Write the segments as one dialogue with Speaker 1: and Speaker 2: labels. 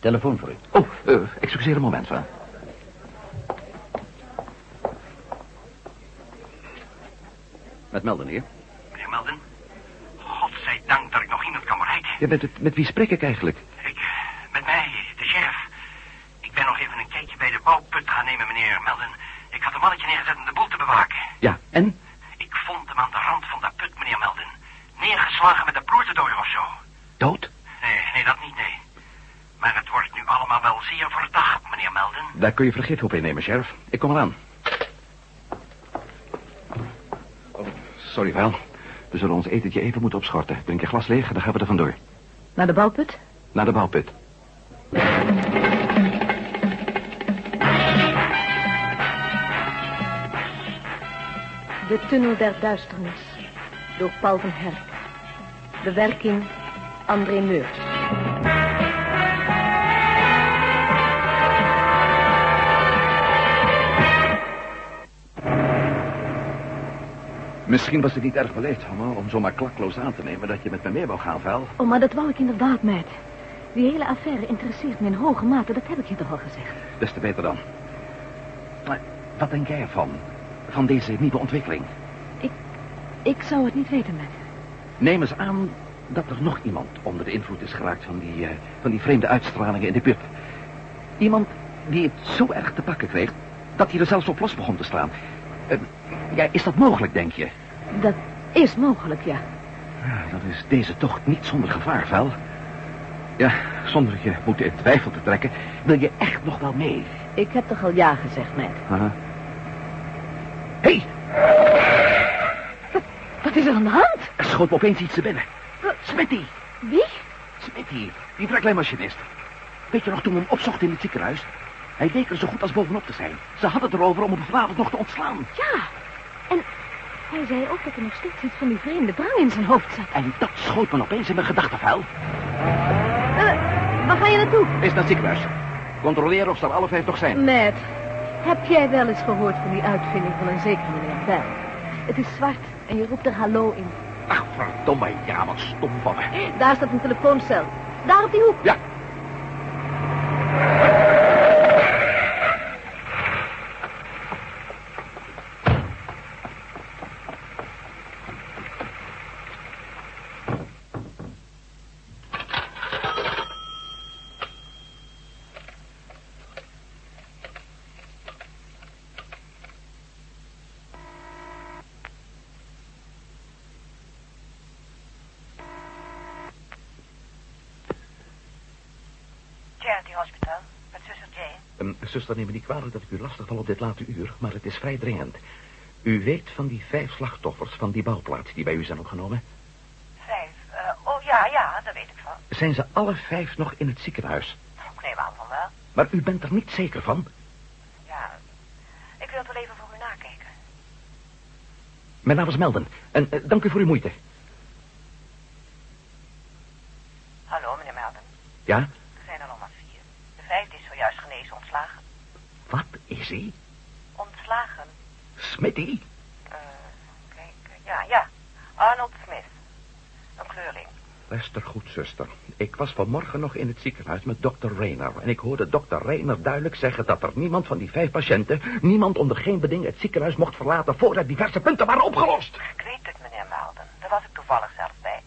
Speaker 1: Telefoon voor u.
Speaker 2: Oh, eh, excuseer een moment, va.
Speaker 1: Met Melden hier.
Speaker 3: Meneer Melden, godzijdank dat ik nog iemand kan bereiken.
Speaker 2: Ja, met, met wie spreek ik eigenlijk?
Speaker 3: Ik, eh, met mij, de sheriff. Ik ben nog even een kijkje bij de bouwput gaan nemen, meneer Melden. Ik had een mannetje neergezet om de boel te bewaken.
Speaker 2: Ja, en?
Speaker 3: Ik vond hem aan de rand van dat put, meneer Melden. Neergeslagen met een ploertendooier of zo.
Speaker 2: Dood?
Speaker 3: Nee, nee, dat niet, nee. Maar het wordt nu allemaal wel zeer verdacht, meneer Melden.
Speaker 2: Daar kun je vergif op innemen, sheriff. Ik kom eraan. Oh, sorry, Val. We zullen ons etentje even moeten opschorten. Drink je glas leeg, dan gaan we er vandoor.
Speaker 4: Naar de balput?
Speaker 2: Naar de bouwput.
Speaker 4: De tunnel der duisternis. Door Paul van Herk. Bewerking André Meurs.
Speaker 2: Misschien was het niet erg beleefd van me om zomaar klakloos aan te nemen dat je met me mee wou gaan, Val.
Speaker 4: Oh, maar dat wou ik inderdaad, meid. Die hele affaire interesseert me in hoge mate, dat heb ik je toch al gezegd.
Speaker 2: Des te beter dan. Maar wat denk jij ervan? Van deze nieuwe ontwikkeling?
Speaker 4: Ik zou het niet weten, meid.
Speaker 2: Neem eens aan dat er nog iemand onder de invloed is geraakt van die, eh, van die vreemde uitstralingen in de pub. Iemand die het zo erg te pakken kreeg dat hij er zelfs op los begon te slaan. Eh, ja, is dat mogelijk, denk je?
Speaker 4: Dat is mogelijk, ja.
Speaker 2: Ja, dan Nou, is deze tocht niet zonder gevaar, Val. Ja, zonder je moeten in twijfel te trekken, wil je echt nog wel mee.
Speaker 4: Ik heb toch al ja gezegd, meid.
Speaker 2: Hé, hey,
Speaker 4: Wat is er aan de hand?
Speaker 2: er schoot me opeens iets te binnen. Smitty!
Speaker 4: Wie?
Speaker 2: Smitty, die verkleinmachinist. Weet je nog, toen we hem opzochten in het ziekenhuis? Hij leek er zo goed als bovenop te zijn. Ze hadden het erover om hem vanavond nog te ontslaan.
Speaker 4: Ja. En hij zei ook dat er nog steeds iets van die vreemde drang in zijn hoofd zat.
Speaker 2: En dat schoot me opeens in mijn gedachten vuil.
Speaker 4: Eh, waar ga je naartoe?
Speaker 2: Is naar het ziekenhuis. Controleren of ze er alle vijf nog zijn.
Speaker 4: Matt, heb jij wel eens gehoord van die uitvinding van een zekere meneer Bell? Het is zwart en je roept er hallo in.
Speaker 2: Ach, verdomme, ja, wat stom van me.
Speaker 4: Daar staat een telefooncel. Daar op die hoek.
Speaker 2: Ja.
Speaker 5: Charity Hospital, met zuster Jane.
Speaker 2: Ehm, zuster, neem me niet kwalijk dat ik u lastig val op dit late uur, maar het is vrij dringend. U weet van die vijf slachtoffers van die bouwplaats die bij u zijn opgenomen.
Speaker 5: Vijf. eh, oh ja, ja, daar weet ik van.
Speaker 2: Zijn ze alle vijf nog in het ziekenhuis?
Speaker 5: Ik neem aan van wel.
Speaker 2: Maar u bent er niet zeker van?
Speaker 5: Ja. Ik wil het wel even voor u nakijken.
Speaker 2: Mijn naam is Melden. En eh, dank u voor uw moeite.
Speaker 5: Hallo, meneer Melden.
Speaker 2: Ja?
Speaker 5: Er zijn er nog maar vier. De vijfde is zojuist genezen ontslagen.
Speaker 2: Wat is hij?
Speaker 5: Ontslagen?
Speaker 2: Smitty?
Speaker 5: Eh, kijk, ja, ja. Arnold Smith. Een kleurling.
Speaker 2: Luister goed, zuster. Ik was vanmorgen nog in het ziekenhuis met dokter Rayner. En ik hoorde dokter Rayner duidelijk zeggen dat er niemand van die vijf patiënten... niemand onder geen beding het ziekenhuis mocht verlaten... voordat diverse punten waren opgelost.
Speaker 5: Ik weet het, meneer Melden. Daar was ik toevallig zelf bij.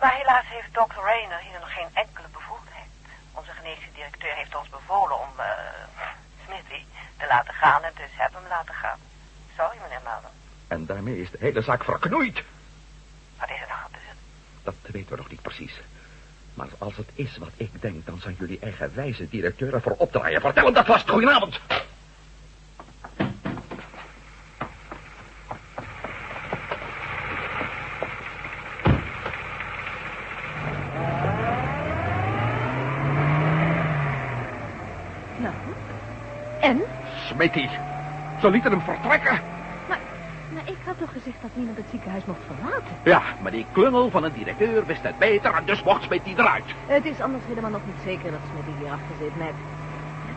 Speaker 5: Maar helaas heeft Dr. Rayner hier nog geen enkele bevoegdheid. Onze genetische directeur heeft ons bevolen om eh Smithy te laten gaan en dus hebben we hem laten gaan. Sorry, meneer Melden.
Speaker 2: En daarmee is de hele zaak verknoeid.
Speaker 5: Wat is er nou gebeurd?
Speaker 2: Dat weten we nog niet precies. Maar als het is wat ik denk, dan zijn jullie eigenwijze directeuren voor opdraaien. Vertel hem dat vast. Goedenavond.
Speaker 4: Nou. En?
Speaker 2: Smitty, ze lieten hem vertrekken.
Speaker 4: Maar, maar ik had toch gezegd dat niemand het ziekenhuis mocht verlaten?
Speaker 2: Ja, maar die klungel van een directeur wist het beter en dus mocht Smitty eruit.
Speaker 4: Het is anders helemaal nog niet zeker dat Smitty hier achter zit, Matt.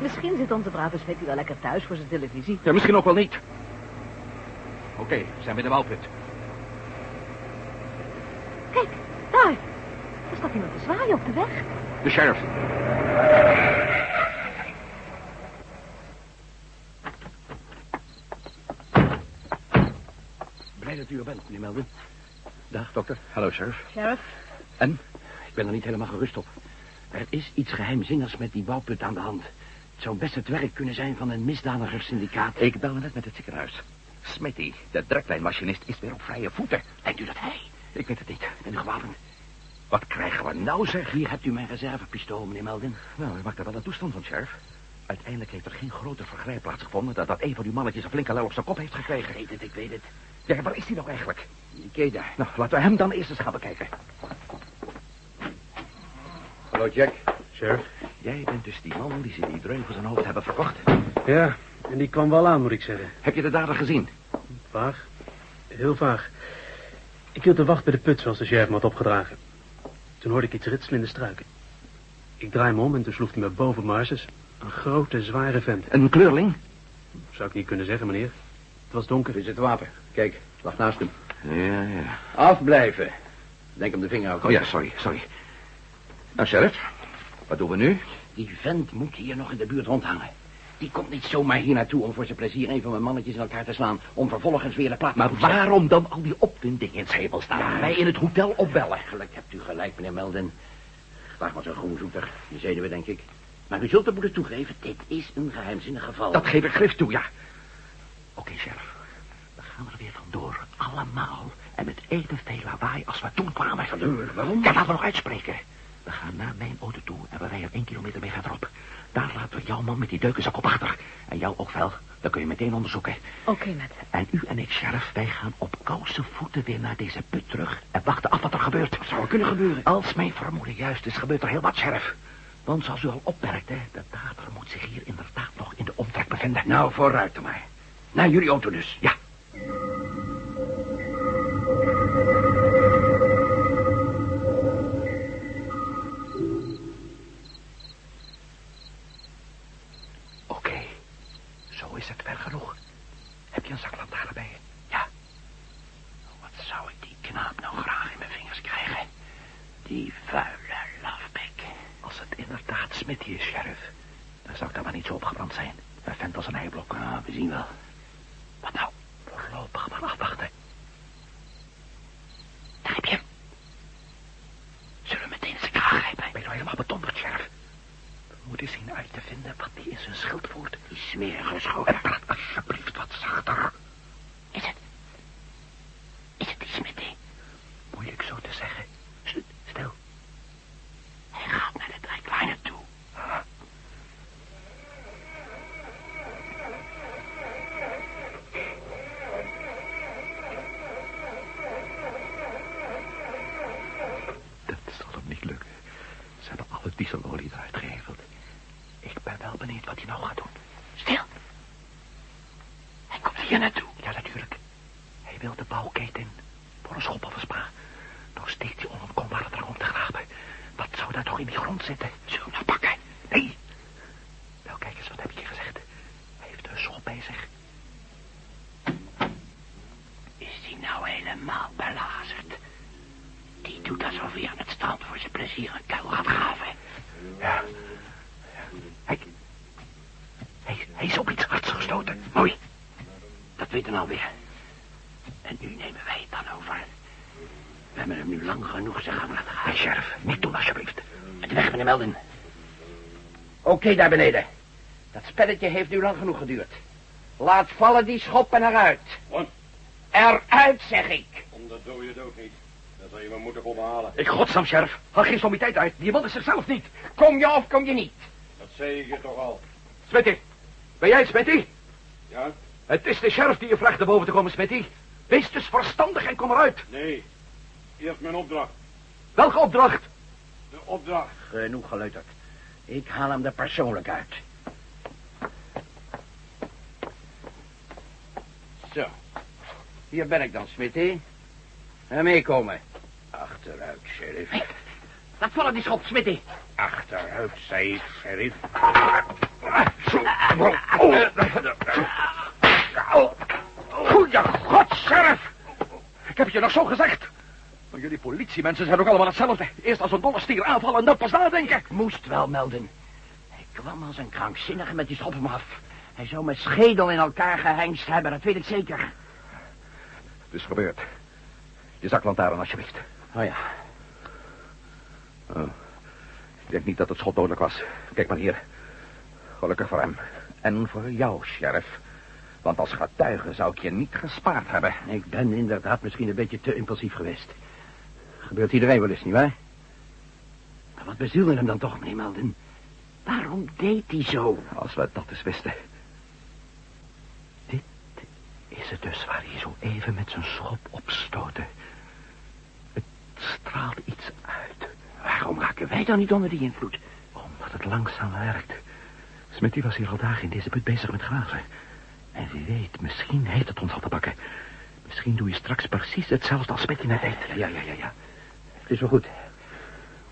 Speaker 4: Misschien zit onze brave Smitty wel lekker thuis voor zijn televisie.
Speaker 2: Ja, misschien ook wel niet. Oké, we zijn bij de bouwput.
Speaker 4: Kijk, daar. Er staat iemand te zwaaien op de weg.
Speaker 1: De sheriff.
Speaker 2: Blij dat u er bent, meneer Melvin.
Speaker 1: Dag, dokter.
Speaker 2: Hallo, sheriff.
Speaker 4: Sheriff,
Speaker 2: En?
Speaker 1: Ik ben er niet helemaal gerust op. Er is iets geheimzinnigs met die bouwput aan de hand. Het zou best het werk kunnen zijn van een misdadigerssyndicaat.
Speaker 2: Ik belde net met het ziekenhuis. Smitty, de dreklijnmachinist, is weer op vrije voeten.
Speaker 1: Denkt u dat hij? Ik weet het niet. Ik ben gewapend.
Speaker 2: Wat krijgen we nou, zeg?
Speaker 1: Hier hebt u mijn reservepistool, meneer Meldin.
Speaker 2: Nou, u maakt er wel een toestand van, sheriff. Uiteindelijk heeft er geen groter vergrijp plaatsgevonden... dat dat een van uw mannetjes een flinke lel op zijn kop heeft
Speaker 1: Ik
Speaker 2: gekregen.
Speaker 1: weet het, ik weet het.
Speaker 2: Ja, waar is hij nou eigenlijk?
Speaker 1: Die Keda.
Speaker 2: Nou, laten we hem dan eerst eens gaan bekijken.
Speaker 6: Hallo, Jack. Sheriff.
Speaker 2: Jij bent dus die man die ze die dreun voor zijn hoofd hebben verkocht.
Speaker 6: Ja, en die kwam wel aan, moet ik zeggen.
Speaker 2: Heb je de dader gezien?
Speaker 6: Vaag. Heel vaag. Ik hield de wacht bij de put, zoals de sheriff me had opgedragen. Toen hoorde ik iets ritselen in de struiken. Ik draai me om en toen sloeg hij me boven Marses. Een grote, zware vent.
Speaker 2: Een kleurling?
Speaker 6: Zou ik niet kunnen zeggen, meneer. Het was donker.
Speaker 1: Dit is het wapen. Kijk, het lag naast hem.
Speaker 2: Ja, ja.
Speaker 1: Afblijven. Denk hem de vinger af.
Speaker 2: Oh ja, sorry, sorry. Nou, sheriff, wat doen we nu?
Speaker 1: Die vent moet hier nog in de buurt rondhangen. Die komt niet zomaar hier naartoe om voor zijn plezier een van mijn mannetjes in elkaar te slaan. Om vervolgens weer de plaat
Speaker 2: Maar waarom dan al die opwinding in het hemel
Speaker 1: staan
Speaker 2: staan?
Speaker 1: wij in het hotel opbellen? Eigenlijk hebt u gelijk, meneer Melden. Laat maar zo'n groenzoeter. Die zeiden we, denk ik. Maar u zult het moeten toegeven, dit is een geheimzinnig geval.
Speaker 2: Dat geef ik grif toe, ja. Oké, sheriff. We gaan er weer vandoor. Allemaal. En met evenveel lawaai als we toen kwamen.
Speaker 1: Vandoor, waarom?
Speaker 2: Ja, laten we nog uitspreken. We gaan naar mijn auto toe en we rijden één kilometer mee verderop. Daar laten we jouw man met die deukenzak op achter. En jou ook wel. Dan kun je meteen onderzoeken.
Speaker 4: oké met.
Speaker 2: En u en ik, sheriff, wij gaan op koude voeten weer naar deze put terug... en wachten af wat er gebeurt. Wat zou er kunnen gebeuren? Als mijn vermoeden juist is, gebeurt er heel wat, sheriff. Want zoals u al opmerkte, de dader moet zich hier inderdaad nog in de omtrek bevinden.
Speaker 1: Nou, vooruit dan maar. Naar jullie auto dus.
Speaker 2: Ja. Oké, zo is het ver genoeg. Heb je een zaklantaarn bij je? Nou,
Speaker 1: Ja. Wat zou ik die knaap nou graag in mijn vingers krijgen? Die vuile lafbek.
Speaker 2: Als het inderdaad Smitty is, sheriff, dan zou ik daar maar niet zo opgebrand zijn. Een vent als een heiblok.
Speaker 1: Ah, we zien wel.
Speaker 2: Wat nou? Voorlopig maar afwachten.
Speaker 1: Daar heb je hem. Zullen we meteen zijn kraag grijpen?
Speaker 2: Ben je nou helemaal bedonderd, sheriff? We moeten zien uit te vinden wat die in zijn schild voert.
Speaker 1: Die smerige schoot.
Speaker 2: Praat alsjeblieft wat zachter.
Speaker 1: Is het? Is het die Smitty?
Speaker 2: Moeilijk zo te zeggen. Sst, Stil.
Speaker 1: Hij gaat naar de treklijnen toe.
Speaker 2: Dat zal hem niet lukken. Ze hebben alle dieselolie eruit geheveld. Ik ben wel benieuwd wat hij nou gaat doen.
Speaker 1: Stil. Hij komt hier naartoe.
Speaker 2: Ja, natuurlijk. Hij wil de bouwketen in. Voor een schop of een spa. Nog steeds die onontkombare drang om te graven. Wat zou daar toch in die grond zitten? Zullen we nou pakken? Nee. Wel, kijk eens, wat heb ik je gezegd? Hij heeft een schop bij zich.
Speaker 1: Is die nou helemaal belazerd? Die doet alsof hij aan het strand voor zijn plezier een kuil gaat graven.
Speaker 2: Hij, hij, hij is op iets hards gestoten.
Speaker 1: Mooi. Dat weten we alweer. En nu nemen wij het dan over. We hebben hem nu lang genoeg zijn gang laten gaan.
Speaker 2: Hey, sheriff, niet doen alsjeblieft.
Speaker 1: Het weg, meneer Melden. Oké, daar beneden. Dat spelletje heeft nu lang genoeg geduurd. Laat vallen die schop en eruit.
Speaker 7: Wat?
Speaker 1: Eruit, zeg ik.
Speaker 7: Om dat doe je het ook niet. Dan zou je me moeten ophalen.
Speaker 2: Ik godsam, sheriff. Haal geen tijd uit. Die man is zichzelf niet.
Speaker 1: Kom je of kom je niet?
Speaker 7: Dat zei ik je toch al.
Speaker 2: Smitty. Ben jij het, Smitty?
Speaker 7: Ja?
Speaker 2: Het is de sheriff die je vraagt naar boven te komen, Smitty. Wees dus verstandig en kom eruit.
Speaker 7: Nee. Eerst mijn opdracht.
Speaker 2: Welke opdracht?
Speaker 7: De opdracht.
Speaker 1: Genoeg gelutterd. Ik haal hem er persoonlijk uit. Zo. Hier ben ik dan, Smitty. En meekomen. Achteruit, sheriff.
Speaker 2: Laat vallen die schop, Smitty.
Speaker 1: Achteruit, zei ik, sheriff.
Speaker 2: Goeie god, sheriff. Ik heb je nog zo gezegd. Jullie politiemensen zijn ook allemaal hetzelfde. Eerst als een dolle stier aanvallen en dan pas nadenken.
Speaker 1: Moest wel melden. Hij kwam als een krankzinnige met die schop op me af. Hij zou mijn schedel in elkaar gehengst hebben, dat weet ik zeker.
Speaker 2: Het is gebeurd. Je zaklantaarn alsjeblieft. Oh.
Speaker 1: Oh ja.
Speaker 2: Ik denk niet dat het schot dodelijk was. Kijk maar hier. Gelukkig voor hem. En voor jou, sheriff. Want als getuige zou ik je niet gespaard hebben.
Speaker 1: Ik ben inderdaad misschien een beetje te impulsief geweest. Gebeurt iedereen wel eens, nietwaar? Maar wat bezielde hem dan toch, meneer Melden? Waarom deed hij zo?
Speaker 2: Als we dat eens wisten. Dit is het dus waar hij zo even met zijn schop opstootte. Het straalt iets uit.
Speaker 1: Waarom raken wij dan niet onder die invloed?
Speaker 2: Omdat het langzaam werkt. Smitty was hier al dagen in deze put bezig met graven. En wie weet, misschien heeft het ons al te pakken. Misschien doe je straks precies hetzelfde als Smitty net deed.
Speaker 1: Ja, ja, ja, ja. Het is wel goed.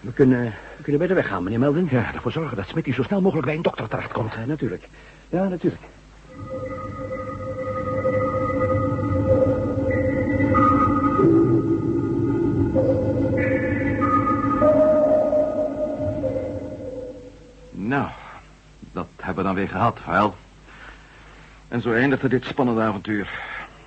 Speaker 1: We kunnen, we kunnen beter weggaan, meneer Melden.
Speaker 2: Ja, ervoor zorgen dat Smitty zo snel mogelijk bij een dokter terechtkomt.
Speaker 1: Ja, natuurlijk. Ja, natuurlijk.
Speaker 2: Nou, dat hebben we dan weer gehad, vuil. En zo eindigde dit spannende avontuur.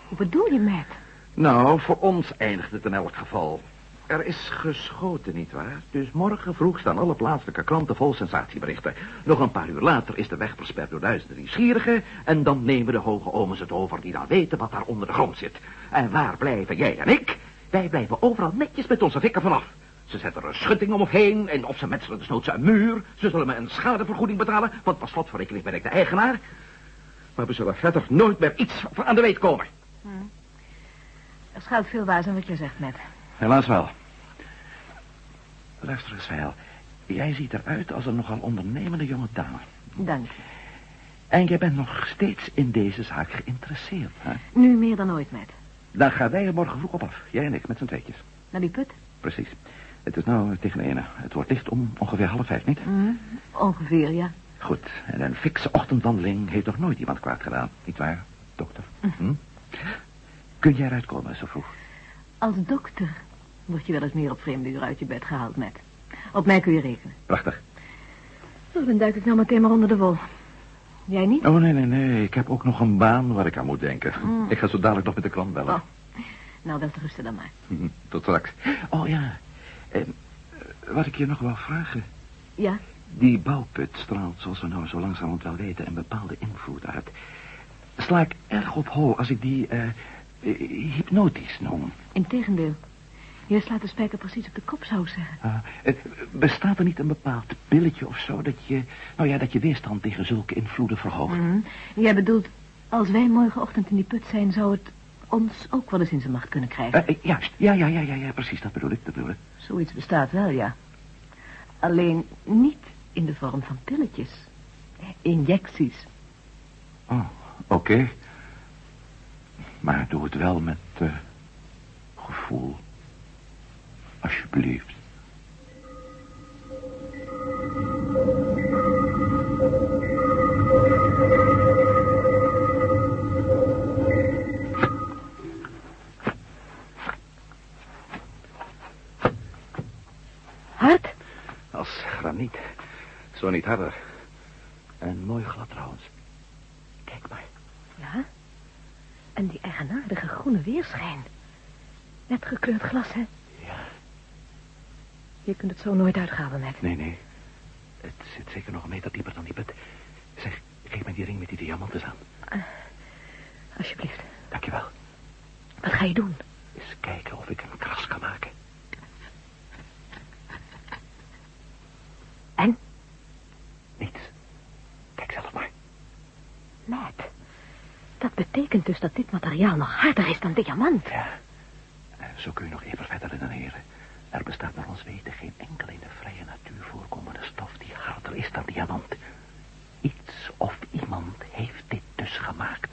Speaker 4: Hoe bedoel je, Matt?
Speaker 2: Nou, voor ons eindigt het in elk geval. Er is geschoten, nietwaar? Dus morgen vroeg staan alle plaatselijke kranten vol sensatieberichten. Nog een paar uur later is de weg versperd door duizenden nieuwsgierigen... en dan nemen de hoge omens het over die dan weten wat daar onder de grond zit. En waar blijven jij en ik? Wij blijven overal netjes met onze vikken vanaf. Ze zetten er een schutting om of heen en of ze metselen desnoods een muur. Ze zullen me een schadevergoeding betalen, want per slotverrekening ben ik de eigenaar. Maar we zullen verder nooit meer iets van aan de weet komen.
Speaker 4: Er schuilt veel waars in wat je zegt, Matt.
Speaker 2: Helaas wel. Luister eens, Veil. Jij ziet eruit als een nogal ondernemende jonge dame.
Speaker 4: Dank je.
Speaker 2: En jij bent nog steeds in deze zaak geïnteresseerd, hè?
Speaker 4: Nu meer dan ooit, Matt.
Speaker 2: Dan gaan wij er morgen vroeg op af. Jij en ik, met z'n tweetjes.
Speaker 4: Naar Nou, die put?
Speaker 2: Precies. Het is nou tegen ene. Het wordt dicht om ongeveer half vijf, niet?
Speaker 4: Mm. Ongeveer, ja.
Speaker 2: Goed. En een fikse ochtendwandeling heeft nog nooit iemand kwaad gedaan. Niet waar, dokter?
Speaker 4: Mm.
Speaker 2: Hm? Kun jij eruit komen zo vroeg?
Speaker 4: Als dokter word je wel eens meer op vreemde uur uit je bed gehaald, Matt. Op mij kun je rekenen.
Speaker 2: Prachtig.
Speaker 4: Nou, dan duik ik nou meteen maar onder de wol. Jij niet?
Speaker 2: Oh, nee, nee, nee. Ik heb ook nog een baan waar ik aan moet denken.
Speaker 4: Mm.
Speaker 2: Ik ga zo dadelijk nog met de klant bellen.
Speaker 4: Oh. Nou, wel te rusten dan maar.
Speaker 2: Hm, Tot straks. Oh ja. En, eh, wat ik je nog wou vragen.
Speaker 4: Ja,
Speaker 2: Die bouwput straalt, zoals we nou zo langzamerhand wel weten, een bepaalde invloed uit. Sla ik erg op hol als ik die eh, eh, hypnotisch noem.
Speaker 4: integendeel. Je slaat de spijker precies op de kop, zou ik zeggen.
Speaker 2: Ah, eh, bestaat er niet een bepaald pilletje of zo dat je, nou ja, dat je weerstand tegen zulke invloeden verhoogt?
Speaker 4: Jij bedoelt, als wij morgenochtend in die put zijn, zou het ons ook wel eens in zijn macht kunnen krijgen.
Speaker 2: Eh, eh, juist, ja, ja, ja, ja, ja, precies, dat bedoel ik, dat bedoel ik.
Speaker 4: Zoiets bestaat wel, ja. Alleen niet in de vorm van pilletjes. Injecties.
Speaker 2: Oh, oké. Maar doe het wel met eh, gevoel. Alsjeblieft.
Speaker 4: Hard?
Speaker 2: Als graniet. Zo niet harder. En mooi glad trouwens. Kijk maar.
Speaker 4: Ja. En die eigenaardige groene weerschijn. Net gekleurd glas, hè?
Speaker 2: Ja.
Speaker 4: Je kunt het zo nooit uitgraven, Matt.
Speaker 2: Nee, nee. Het zit zeker nog een meter dieper dan die put. Zeg, geef mij die ring met die diamanten aan.
Speaker 4: Alsjeblieft.
Speaker 2: Dankjewel.
Speaker 4: Wat ga je doen?
Speaker 2: Eens kijken of ik een kras kan maken.
Speaker 4: En?
Speaker 2: Niets. Kijk zelf maar.
Speaker 4: Matt. Dat betekent dus dat dit materiaal nog harder is dan diamant.
Speaker 2: Ja. Eh, Zo kun je nog even verder redeneren. Er bestaat naar ons weten geen enkele in de vrije natuur voorkomende stof die harder is dan diamant. Iets of iemand heeft dit dus gemaakt.